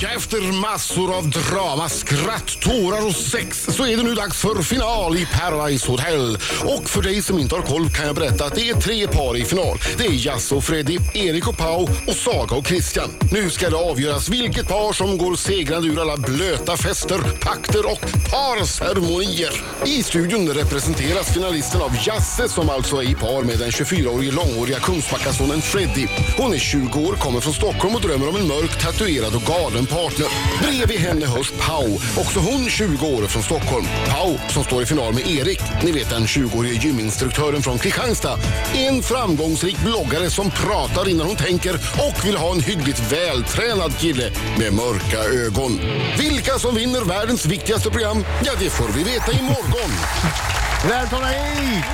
Ja, efter massor av drama, skratt, tårar och sex så är det nu dags för final i Paradise Hotel. Och för dig som inte har koll kan jag berätta att det är tre par i final. Det är Jasse och Freddy, Erik och Pau och Saga och Christian. Nu ska det avgöras vilket par som går segrande ur alla blöta fester, pakter och parceremonier. I studion representeras finalisten av Jasse som alltså är i par med den 24-årige långåriga Kungsbackasonen Freddy. Hon är 20 år, kommer från Stockholm och drömmer om en mörk, tatuerad och galen partner. Bredvid henne hörs Pau, också hon 20 år från Stockholm. Pau, som står i final med Erik, ni vet den 20-årige gyminstruktören från Kristianstad, är en framgångsrik bloggare som pratar innan hon tänker och vill ha en hyggligt vältränad kille med mörka ögon. Vilka som vinner världens viktigaste program, ja det får vi veta imorgon. Välkomna hit!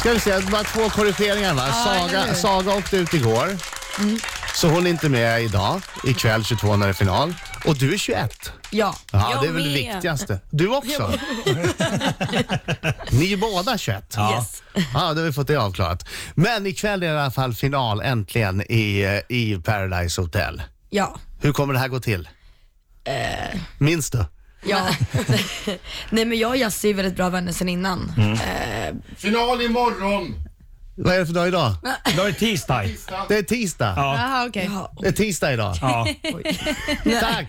Ska vi se, det var två korrigeringar va? Ja, eller hur? Saga, Mm. Saga åkte ut igår. Så hon är inte med idag, ikväll 22 när det är final. Och du är 21. Ja, Ja, jag det är väl med. det viktigaste. Du också? Ni är båda 21? Ja. Yes. Ja, då har vi fått det avklarat. Men ikväll är det i alla fall final äntligen i, eh, i Paradise Hotel. Ja. Hur kommer det här gå till? Eh. Minns du? Ja. Nej men jag och Jasse är väldigt bra vänner sen innan. Mm. Eh, Final imorgon! Vad är det för dag idag? Idag är det tisdag. Det är tisdag. Ja. Jaha, okej. ja, och, Det är tisdag idag. ja. Tack!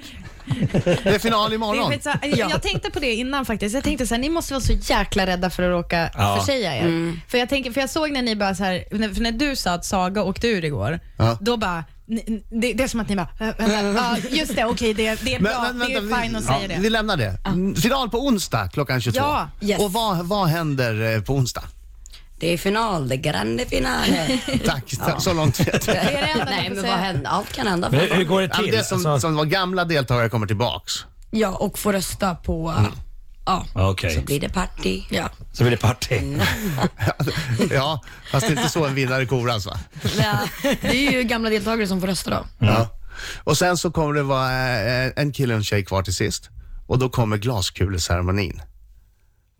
Det är final Det är imorgon. skitsa- Jag tänkte på det innan faktiskt. Jag tänkte så här, ni måste vara så jäkla rädda för att råka Ja. försäga er. För, jag tänker, för jag såg när ni bara så här, när- för när du sa att Saga åkte ur igår, Ja. då bara, ni- ni- det, det är som att ni bara, äh, vänta, ja, just det, okej, det, det är bra, det är fine att vi, säga ja, det. vi lämnar det. Mm, Final på onsdag klockan 22. Ja, yes. Och vad, vad händer eh, på onsdag? Det är final, det är grande finale. Tack, tack så långt vet jag. det enda ni Nej, får men vad säga. händer? Allt kan hända. Men hur går det Ja, men till? Det som, Alltså, som var gamla deltagare kommer tillbaks. ja, och få rösta på... Mm. Ja. Okej, Blir det party? ja. så blir det party. Ja, fast det är inte så en vinnare koras va? Nej, Det är ju gamla deltagare som får rösta då. Mm. Ja. Och sen så kommer det vara eh, en kille och en tjej kvar till sist. Och då kommer glaskuleceremonin.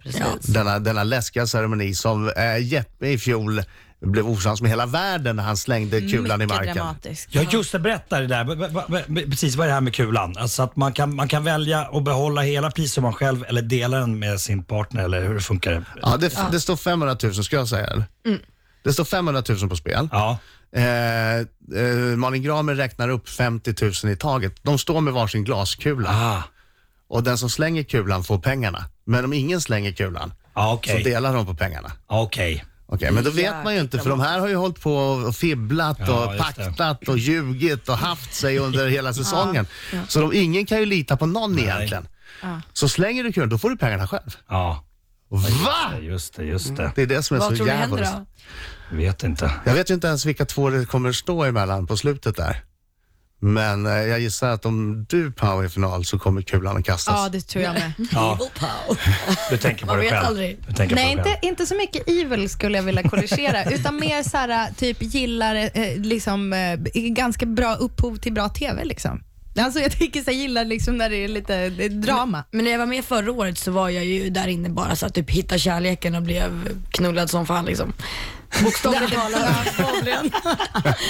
Precis. Denna, denna läskiga ceremoni som eh, Jeppe i fjol blev osams med hela världen när han slängde kulan i Mycket marken. dramatiskt. Ja just det, berätta det där. B- b- b- Precis, vad är det här med kulan? Alltså att man kan, man kan välja att behålla hela prissumman själv eller dela den med sin partner eller hur det funkar det? Ja, det, det står 500 000 ska jag säga. eller? Det står 500 000 på spel. Ja. Eh, eh, Malin Gramer räknar upp 50 000 i taget. De står med varsin glaskula Ah, och den som slänger kulan får pengarna. Men om ingen slänger kulan ja okej. så delar de på pengarna. Okej. Okej, men då vet man ju inte för de här har ju hållit på och fibblat Ja, och just det. paktat och ljugit och haft sig under hela säsongen. Så de, ingen kan ju lita på någon egentligen. Så slänger du kulan, då får du pengarna själv. Ja, Va? just det, just det. Det är det som är Vad så tror du händer djävulskt. då? Vet inte. Jag vet ju inte ens vilka två det kommer att stå emellan på slutet där. Men eh, jag gissar att om du Pau är i final så kommer kulan att kastas. Ja, det tror jag med. Ja, Evil pow. du tänker på Man dig vet själv. aldrig. Du tänker på Nej, dig själv. inte, inte så mycket evil skulle jag vilja korrigera, utan mer så här, typ gillar eh, liksom, eh, ganska bra upphov till bra TV. Liksom. Alltså jag tänker så här, gillar liksom när det är lite det är drama. Men när jag var med förra året så var jag ju där inne bara så att typ hitta kärleken och blev knullad som fan liksom. Bokstavligt talat.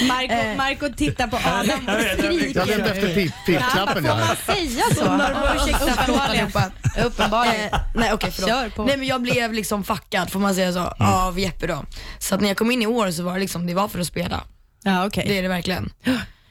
Marco, Marco tittar på Adam Eh. Jag vet, och jag vet. skriker. jag längtar efter pip, pipknappen Får man jag. säga så? Ursäkta, uppenbarligen. uppenbarligen. Eh, nej okej förlåt. Kör på. Nej men jag blev liksom fuckad får man säga så, Mm. av Jeppe då. Så att när jag kom in i år så var det liksom, det var för att spela. Ja, okej. Det är det verkligen.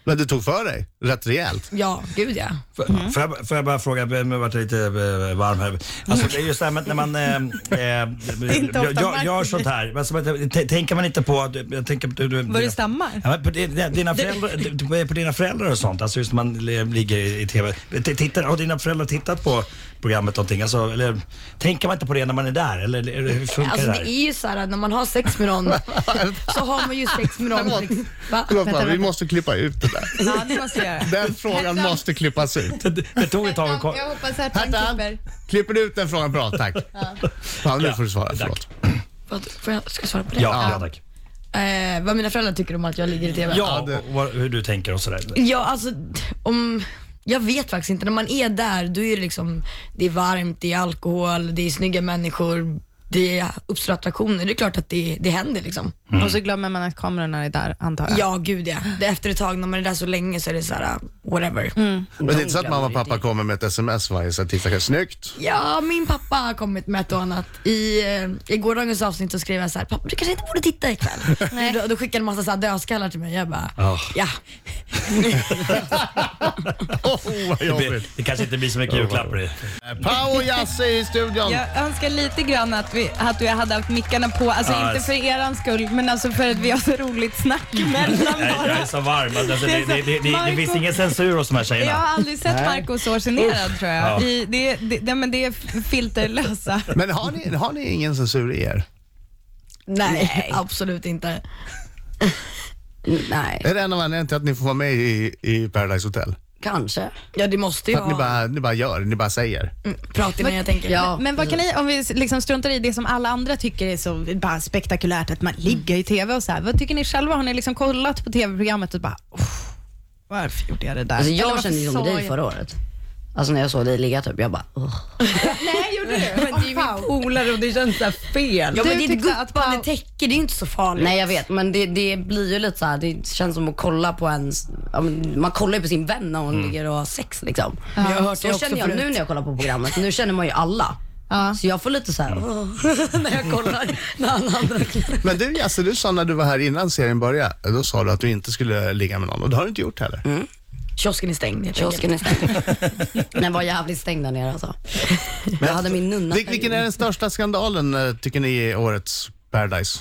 Men du tog för dig rätt rejält. Ja, gud ja. Får, får, jag, får jag bara fråga, jag har varit lite eh, varm här. Alltså, det är just det här med när man eh, eh, inte ofta gör- gör, Martin. gör sånt här. Alltså, men, t- tänker man inte på att, eh, jag tänker på, du, du, Vad du stammar? Ja, men på, di- dina föräldrar, på dina föräldrar och sånt, alltså just när man le- ligger i i TV. T- Tittar, har dina föräldrar tittat på programmet någonting? Alltså, eller, tänker man inte på det när man är där? Eller, eller hur funkar Alltså det det där? är ju såhär när man har sex med någon så har man ju sex med någon. liksom. Förlåt. Va? Förlåt, Vänta, Pau, vi vänta. måste klippa ut det där. Ja, det måste jag göra. Den frågan måste klippas ut. Det, det tog ett tag att ko- Jag hoppas att han Hertan, klipper. klipper du ut den frågan? Bra, tack. Pau, nu får du svara. Förlåt. Vad- Får jag, ska jag svara på det? Ja, ja tack. Eh, vad mina föräldrar tycker om att jag ligger i TV? Ja, det- och, vad- hur du tänker och sådär. Ja, alltså om... Jag vet faktiskt inte. När man är där, då är det liksom, det är varmt, det är alkohol, det är snygga människor, det är Uppsala attraktioner. Det är klart att det, det händer liksom. Mm. Och så glömmer man att kamerorna är där, antar jag. Ja, gud ja. Det, efter ett tag, när man är där så länge så är det så här, whatever. Men det är inte så att mamma och glömmer pappa kommer med ett sms varje så här, titta här, snyggt. Ja, min pappa har kommit med ett och annat. I, eh, i gårdagens avsnitt så skrev jag så här, pappa du kanske inte borde titta ikväll. Nej. Då, då skickade en massa så här dödskallar till mig. Jag bara, Ah. ja. Åh, Oh, vad Det, blir- jobbigt. det kanske inte blir så mycket julklappar i. Pau och Jasse i studion. Jag önskar lite grann att vi, att vi hade haft mickarna på, alltså Ja, inte alltså. för eran skull, men alltså för att vi har så roligt snack mellan Mm. Jag, jag är varandra. så varm. Alltså, Det det, är så- det, det, det, det finns Marco- ingen censur hos de här Jag tjejerna. har aldrig sett Marco så generad tror Ja. jag. I, det, det, det, men det är filterlösa. Men har ni, har ni ingen censur i er? Nej, absolut inte. Nej, Är det en av anledningarna till att ni får vara med i, i Paradise Hotel? kanske. Ja, det måste ju Att ni vara. bara, ni bara gör, ni bara säger. Mm, Prata innan jag tänker. Ja. Men vad kan ni, om vi liksom struntar i det som alla andra tycker är så bara spektakulärt, att man ligger i TV och så här. Vad tycker ni själva? Har ni liksom kollat på TV-programmet och bara, "Åh, varför gjorde jag det där? Alltså, Eller jag varför kände ju som sa dig jag- förra året. Alltså när jag såg dig ligga typ, jag bara "Ugh." Nej, gjorde du? Men det är ju min polare och det känns såhär fel. Ja, Du men ditt tyckte att guppande Pau- täcke, det är ju inte så farligt. Nej jag vet men det, det blir ju lite så här. det känns som att kolla på ens, ja, men man kollar ju på sin vän när hon ligger och har sex liksom. Mm. Men jag har hört det Så också känner jag förut. nu när jag kollar på programmet, nu känner man ju alla. Ja. Så jag får lite så här "Åh", när jag kollar när alla andra Men du Jasse, du sa när du var här innan serien började, då sa du att du inte skulle ligga med någon och det har du inte gjort heller. Mm. Kiosken är stängd helt enkelt. Kiosken är stängd. Den var jävligt stängd där nere alltså. Jag hade min nunna. Vil- vilken är den största skandalen eh, tycker ni i årets Paradise?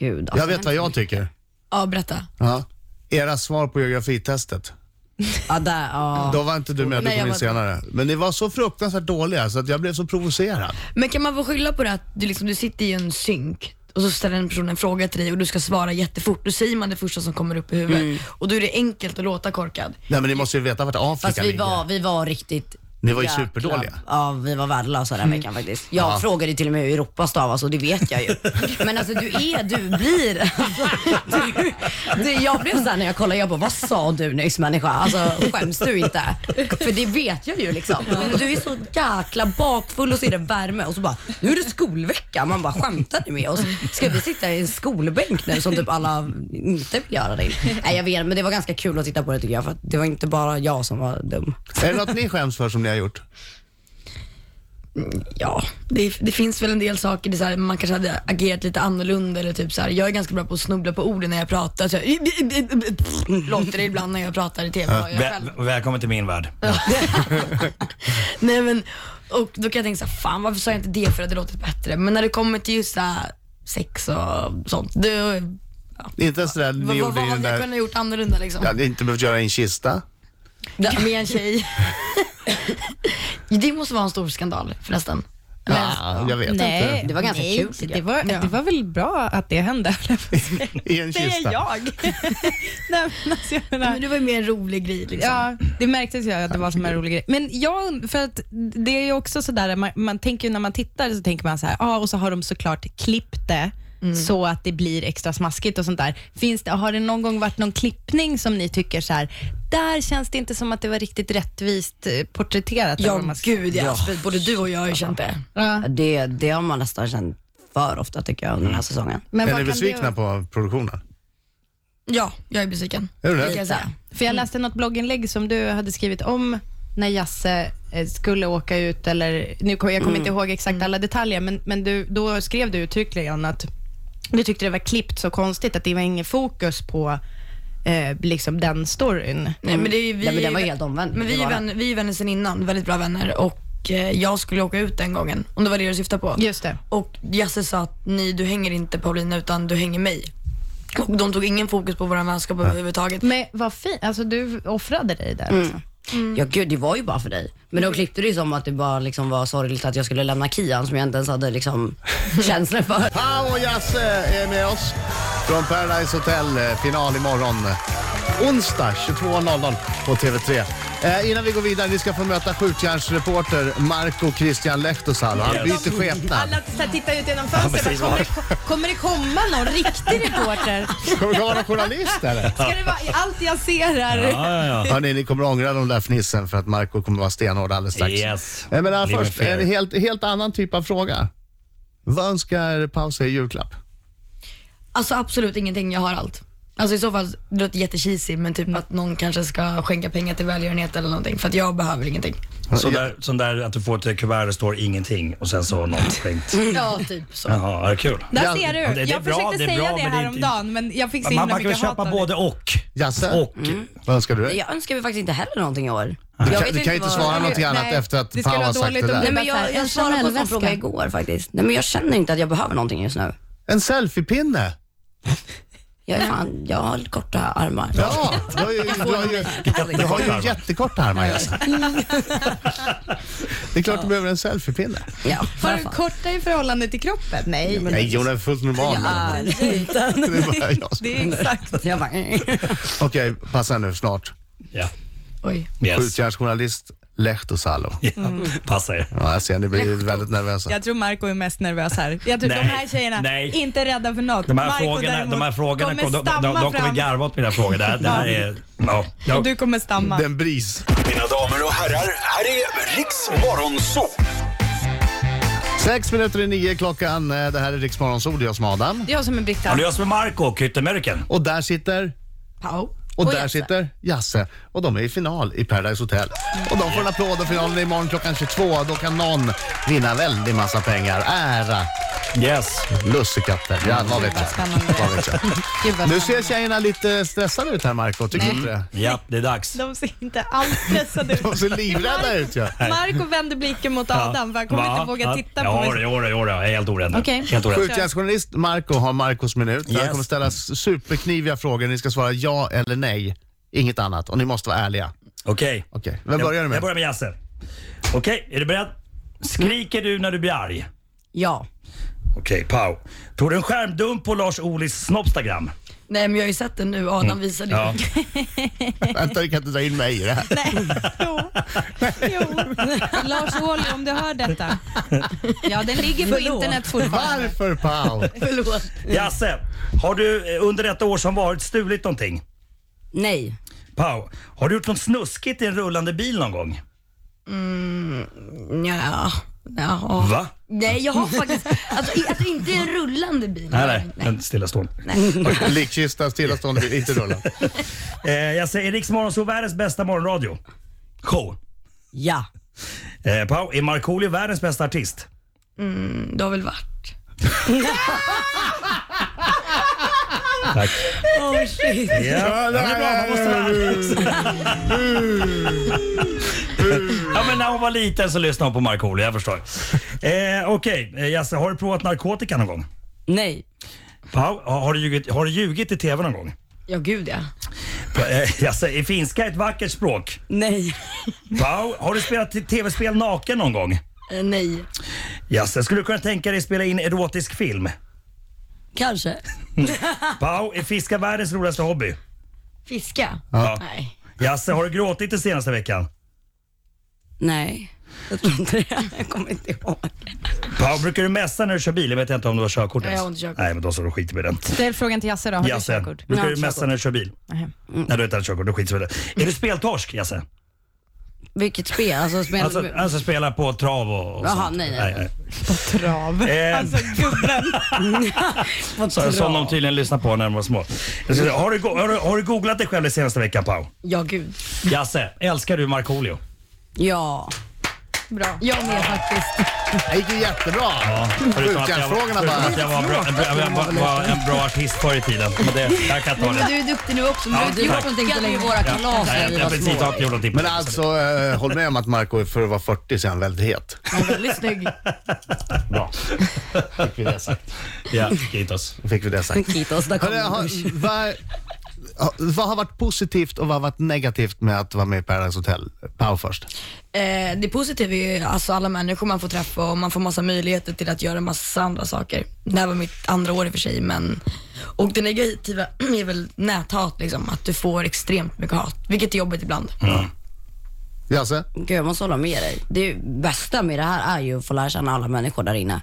Gud, alltså. Jag vet vad jag tycker. Ja, berätta. Ja. Era svar på geografitestet. Ja, där, ja. Då var inte du med, du Nej, jag kom in var- senare. Men ni var så fruktansvärt dåliga så att jag blev så provocerad. Men kan man få skylla på det att du, liksom, du sitter i en synk och så ställer en person en fråga till dig och du ska svara jättefort. Då säger man det första som kommer upp i huvudet Mm. och då är det enkelt att låta korkad. Nej men ni måste ju veta vart Afrika Fast vi ligger. var, vi var riktigt Ni var ju jäkla- superdåliga. Mm. Ja, vi var värdelösa den veckan faktiskt. Jag frågade ju till och med hur Europa stavas och det vet jag ju. Men alltså du är, du blir. Alltså, du, du, jag blev såhär när jag kollade, jag bara vad sa du nyss människa? Alltså skäms du inte? För det vet jag ju liksom. Du är så jäkla bakfull och så är det värme och så bara, nu är det skolvecka. Man bara skämtar ni med oss? Ska vi sitta i en skolbänk nu som typ alla inte vill göra det? Nej jag vet men det var ganska kul att titta på det tycker jag för att det var inte bara jag som var dum. Är det något ni skäms för som ni har gjort? Ja, det, det finns väl en del saker, det är så här, man kanske hade agerat lite annorlunda eller typ så här. Jag är ganska bra på att snubbla på orden när jag pratar. Så jag, låter det ibland när jag pratar i TV. Jag själv. Väl, välkommen till min värld. Nej men, och då kan jag tänka så här, fan varför sa jag inte det för att det låtit bättre? Men när det kommer till just så här, sex och sånt, då, Inte ens det där vad, ni vad, gjorde vad i den hade jag där... kunnat gjort annorlunda liksom? Jag hade inte behövt göra i en kista. Med en tjej. det måste vara en stor skandal förresten. Ja, jag vet Nej, Det var ganska nej, kul, tycker Det var, det var väl bra att det hände. inte. I en Det är kista. jag. nej, men alltså, jag menar, Men det var ju mer en rolig grej liksom. Ja, det märktes ju att det var som en rolig grej. Men jag und- för att det är ju också sådär, man, man tänker ju när man tittar så tänker man så här, ja och så har de såklart klippt det Mm. så att det blir extra smaskigt och sånt där. Finns det, har det någon gång varit någon klippning som ni tycker så här, där känns det inte som att det var riktigt rättvist eh, porträtterat? eller vad Ja man ska- gud ja, För både du och jag har ju känt det. Ja. Det, det har man nästan känt för ofta tycker jag under den här säsongen. Men Är vad ni kan det besvikna vara? på produktionen? Ja, jag är besviken. Är du det? kan jag säga. För Mm. jag läste något blogginlägg som du hade skrivit om när Jasse eh, skulle åka ut, eller nu, kom- jag kommer inte Mm. ihåg exakt alla detaljer, men, men du, då skrev du uttryckligen att du tyckte det var klippt så konstigt att det var ingen fokus på eh, liksom den storyn. Nej, men det är ju, vi, Nej, men den var ju helt omvänd. Men vi, Det är ju var den. vänner, vi är ju vänner sedan innan, väldigt bra vänner. Och eh, jag skulle åka ut den gången, om det var det du syftade på. Just det. Och Jasse sa att nej, du hänger inte Paulina utan du hänger mig. Och de tog ingen fokus på vår vänskap överhuvudtaget. Men vad fint, alltså du offrade dig där. Mm. Liksom. Ja gud, det var ju bara för dig. Men då klippte det ju som att det bara liksom var sorgligt att jag skulle lämna Kian som jag inte ens hade liksom känslor för. Pau och Jasse är med oss från Paradise Hotel. eh, Final imorgon. eh, Onsdag 22.00 på TV3. Eh, innan vi går vidare, ni ska få möta skjutjärnsreporter Marco Christian Lehtosalo. Han Yes. byter skepnad. Alla så här tittar ut genom Ja, fönstret. precis, bara, kommer, var- det ko- kommer det komma någon riktig reporter? Kommer det vara någon journalist eller? Ska det vara allt jag ser här? Ja, ja, ja. Hörni, ni kommer ångra de där fnissen för att Marco kommer vara stenhård alldeles strax. Yes. Eh, Men Live allra först, and fair. en helt, helt annan typ av fråga. Vad önskar Pau sig i julklapp? Alltså absolut ingenting, jag har allt. Alltså i så fall, det låter jättecheesy men typ att någon kanske ska skänka pengar till välgörenhet eller någonting för att jag behöver ingenting. Sån där, sån där att du får ett kuvert och det står ingenting och sen så har någon skänkt. Ja, typ så. Jaha, det är kul. Där Ja, ser du. ja, det är jag bra, försökte det är säga bra, det men det är här om dagen men jag fick så himla Man, man kan väl mycket hat köpa av det. både och. Jasse? Och. Mm. Vad önskar du? dig? Jag önskar mig faktiskt inte heller någonting i år. Du jag kan, du kan ju inte svara eller- någonting annat nej, efter att det Pau skulle har vara sagt det dåligt om där. Nej, men jag, En jag svarade på en sån Chanel-väska. fråga igår faktiskt. Nej, men jag känner inte att jag behöver någonting just nu. En selfiepinne? Jag, är fan, jag har korta armar. Ja, du har ju, du har ju, du har ju jättekorta armar Jasse. Det är klart du behöver en selfiepinne. Ja, Har du korta i förhållande till kroppen? Nej. men Nej, hon är fullt normal. Ja, liten. Det är bara jag som- Det är exakt. Jag bara, Okej, passa nu snart. Ja. Oj. Yes. Skjutjärnsjournalist Lehto Salo. Mm. Passa er. Ja, jag ser, ni blir väldigt nervösa. Jag tror Marco är mest nervös här. Jag tror Nej, de här tjejerna, nej. inte rädda för något. De här Marco frågorna, däremot de här frågorna kommer de, de, stamma de, de kommer fram. garva åt mina frågor. Det här, det här är... Ja. Och Du kommer stamma. Den bris. Mina damer och herrar, här är Riks Morgonzoo! Sex minuter i nio klockan. Eh, Det här är Riksmorgonzoo, det är jag som är Adam. Det är jag som är Britta. Ja, det är jag som är Marco, Kyttemörken. Och där sitter... Pau. Och, Och där Jasse. sitter Jasse. Och de är i final i Paradise Hotel. Och de får en applåd och finalen är imorgon klockan 22. Då kan någon vinna en väldig massa pengar. Ära Yes. lussekatter. Ja, vad vet jag. Spännande. Vad vet jag. Gud, vad Nu ser spännande. tjejerna lite stressade ut här Marco. tycker du inte det? Ja, det är dags. De ser inte alls stressade ut. De ser livrädda ut ju. Marco vänder blicken mot Adam för han kommer Va? inte våga Ja. titta ja, på mig. Jodå, jodå, jag är helt orädd nu. Okej. Helt orädd. Skjutjärnsjournalist Marco har Marcos minut. Där Yes. kommer ställas superkniviga frågor. Ni ska svara ja eller nej. Inget annat. Och ni måste vara ärliga. Okej. Okej, vem börjar du Jag med? börjar med Jasse. Okej, är du beredd? Skriker du när du blir arg? ja. Okej, Pau. Tog du en skärmdump på Lars Ohlys Snobstagram? Nej men jag har ju sett den nu, Adam Mm. visade ju. Ja. Vänta, du kan inte dra in mig i det här. Jo. Jo. Lars Ohly, om du hör detta. Ja, den ligger på Förlåt. internet fortfarande. Varför Pau? Förlåt. Jasse, har du eh, under detta år som varit stulit någonting? Nej. Pau, har du gjort något snuskigt i en rullande bil någon gång? Nja. Jaha. Va? Nej jag har faktiskt, alltså, i, alltså inte i en rullande bil. Nej, nej. En stillastående. Likkista, stillastående bil, inte rulla. Eh, jag säger Rix Morgonzoo, världens bästa morgonradio. Show. Ja. Eh, Pau, är Markoolio världens bästa artist? Du Mm, har väl varit? Tack. Oh, shit. Ja, ja, men det är bra. Man måste vara ärlig. ja, men när hon var liten så lyssnade hon på Markoolio, jag förstår. Eh, Okej, eh, Jasse, har du provat narkotika någon gång? Nej. Pau, har har du ljugit, har du ljugit i TV någon gång? Ja gud ja. Pa- eh, Jasse, är finska ett vackert språk? Nej. Pau, har du spelat i TV-spel naken någon gång? Eh, nej. Jasse, skulle du kunna tänka dig att spela in erotisk film? Kanske. Pau, är fiska världens roligaste hobby? Fiska? Ja. Nej. Jasse, har du gråtit den senaste veckan? Nej. Jag tror inte det. Jag kommer inte ihåg. Pau, brukar du messa när du kör bil? Jag vet inte om du har körkort Nej, jag har inte körkort. Nej, men då så, då skiter vi i den. Ställ frågan till Jasse då. Har du Jasse, körkort? brukar Ja, du messa körkort. när du kör bil? Nej. Nej, du har inte haft körkort, då skiter vi i det. Är du speltorsk, Jasse? Vilket spel? Alltså, spel... Alltså, alltså spela på trav och, och Jaha, sånt? nej, nej, På trav. Eh, Alltså gubben. så, som de tydligen lyssnar på när de var små. Jag ska säga, Har du, go- har, du, har du googlat dig själv den senaste veckan, Pau? Ja gud. Jasse, älskar du Markoolio? Ja. Bra. Jag med faktiskt. Det gick ju jättebra. Förutom att jag, Skjutjärnsfrågorna förutom bara. att jag var, bra, jag var, var en bra artist förr i tiden. Men det, jag kan ta Men det. du är duktig nu också. Men Ja, du har inte tack. gjort någonting på Kan ju länge. våra Nej, kalas när jag- vi jag har var precis små. inte gjort någonting på Men det. alltså, eh, håll med om att Marco för att vara 40 så är han väldigt het. Han är väldigt snygg. Bra. Fick vi det sagt. Ja, Kitos. Fick vi det sagt. Kitos, där Hörru, har, kommer vad, ha- vad har varit positivt och vad har varit negativt med att vara med i Paradise Hotel? Pau först. Eh, det positiva är ju alltså alla människor man får träffa och man får massa möjligheter till att göra massa andra saker. Det här var mitt andra år i och för sig men och det negativa är väl näthat liksom, att du får extremt mycket hat, vilket är jobbigt ibland. Mm. Jasse? Gud, jag måste hålla med dig. Det bästa med det här är ju att få lära känna alla människor där inne.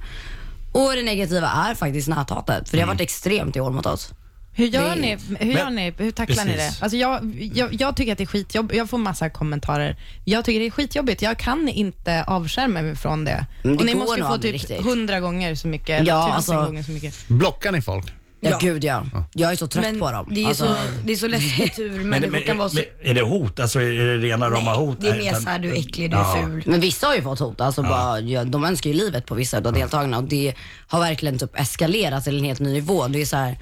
Och det negativa är faktiskt näthatet, för det har Mm. varit extremt i år mot oss. Hur gör Det- ni? Hur, gör ni? hur tacklar ni det? Precis. Alltså jag, jag, jag tycker att det är skitjobbigt. Jag får massa kommentarer. Jag tycker det är skitjobbigt. Jag kan inte avskärma mig från det. Men Mm, det och ni går måste ju nog få aldrig typ riktigt. hundra gånger så mycket, eller Ja, tusen alltså- gånger så mycket. Blockar ni folk? Ja, Ja. gud ja. Jag är så trött Men på dem. det är ju Alltså, så, det är så läskigt hur människor kan vara så... är det hot? Alltså är det rena rama hot? det är Nej, mer utan- såhär, du är äcklig, du Ja. är ful. Men vissa har ju fått hot. Alltså bara, ja, de önskar ju livet på vissa av deltagarna och det har verkligen typ eskalerat till en helt ny nivå. Det är så här,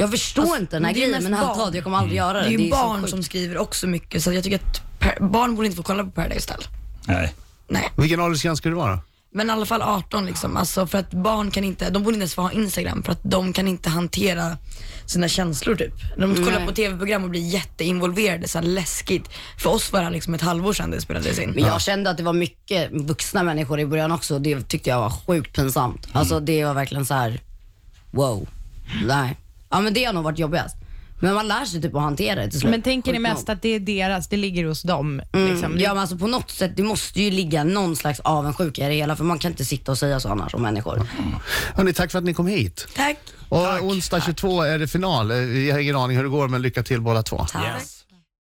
jag förstår inte den här det är grejen mest men han tar barn. det. Jag kommer aldrig göra det. Det är ju så barn sjukt. som skriver också mycket så jag tycker att per- barn borde inte få kolla på Paradise Hotel. Nej. Nej. Vilken åldersgräns ska det vara? Men i alla fall 18 liksom. Alltså för att barn kan inte, de borde inte ens få ha Instagram för att de kan inte hantera sina känslor typ. De kollar Nej. på tv-program och blir jätteinvolverade, så här läskigt. För oss var det liksom ett halvår sedan det spelades in. Men jag kände att det var mycket vuxna människor i början också. Det tyckte jag var sjukt pinsamt. Alltså det var verkligen så här: wow. Nej. Ja men det har nog varit jobbigast. Men man lär sig typ att hantera det till slut. Men tänker ni Sjukt nog. mest att det är deras, det ligger hos dem? Liksom. Ja men alltså på något sätt, det måste ju ligga någon slags avundsjuka i det hela för man kan inte sitta och säga så annars om människor. Hörni, tack för att ni kom hit. Tack! Och onsdag 22 är det final. Eh, Jag har ingen aning hur det går, men lycka till båda två. Tack. Yes.